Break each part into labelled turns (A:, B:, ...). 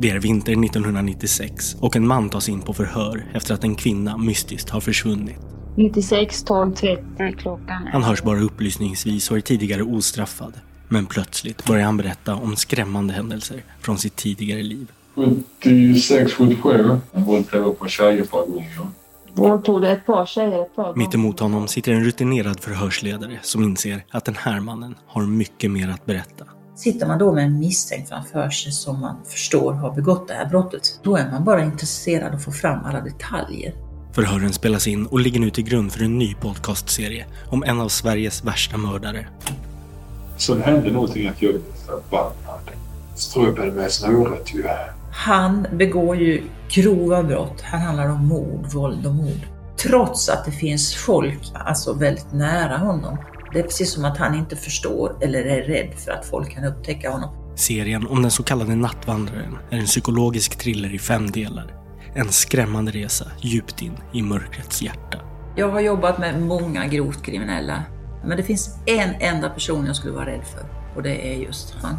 A: Det är vinter 1996 och en man tas in på förhör efter att en kvinna mystiskt har försvunnit.
B: 96, 12, 30 klockan.
A: Han hörs bara upplysningsvis och är tidigare ostraffad. Men plötsligt börjar han berätta om skrämmande händelser från sitt tidigare liv.
C: 76, 77. Han våldtog på tjejer ett par gånger.
B: Våldtog ett par tjejer ett par gånger.
A: Mittemot honom sitter en rutinerad förhörsledare som inser att den här mannen har mycket mer att berätta.
D: Sitter man då med en misstänkt framför sig som man förstår har begått det här brottet, då är man bara intresserad av att få fram alla detaljer.
A: Förhören spelas in och ligger nu till grund för en ny podcastserie om en av Sveriges värsta mördare.
C: Så det hände någonting att jag blev förbannad. Ströpade med snöret ju.
D: Han begår ju grova brott. Här handlar det om mord, våld och mord. Trots att det finns folk alltså väldigt nära honom. Det är precis som att han inte förstår eller är rädd för att folk kan upptäcka honom.
A: Serien om den så kallade Nattvandraren är en psykologisk thriller i fem delar. En skrämmande resa djupt in i mörkrets hjärta.
D: Jag har jobbat med många grovt kriminella, men det finns en enda person jag skulle vara rädd för och det är just han.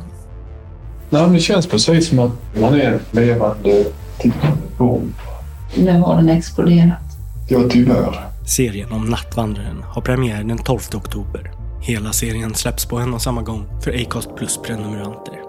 C: Nej, men det känns precis som att man är en levande tickande bomb.
B: Nu har den exploderat.
C: Ja, tyvärr.
A: Serien om Nattvandraren har premiär den 12 oktober. Hela serien släpps på en och samma gång för Acast Plus prenumeranter.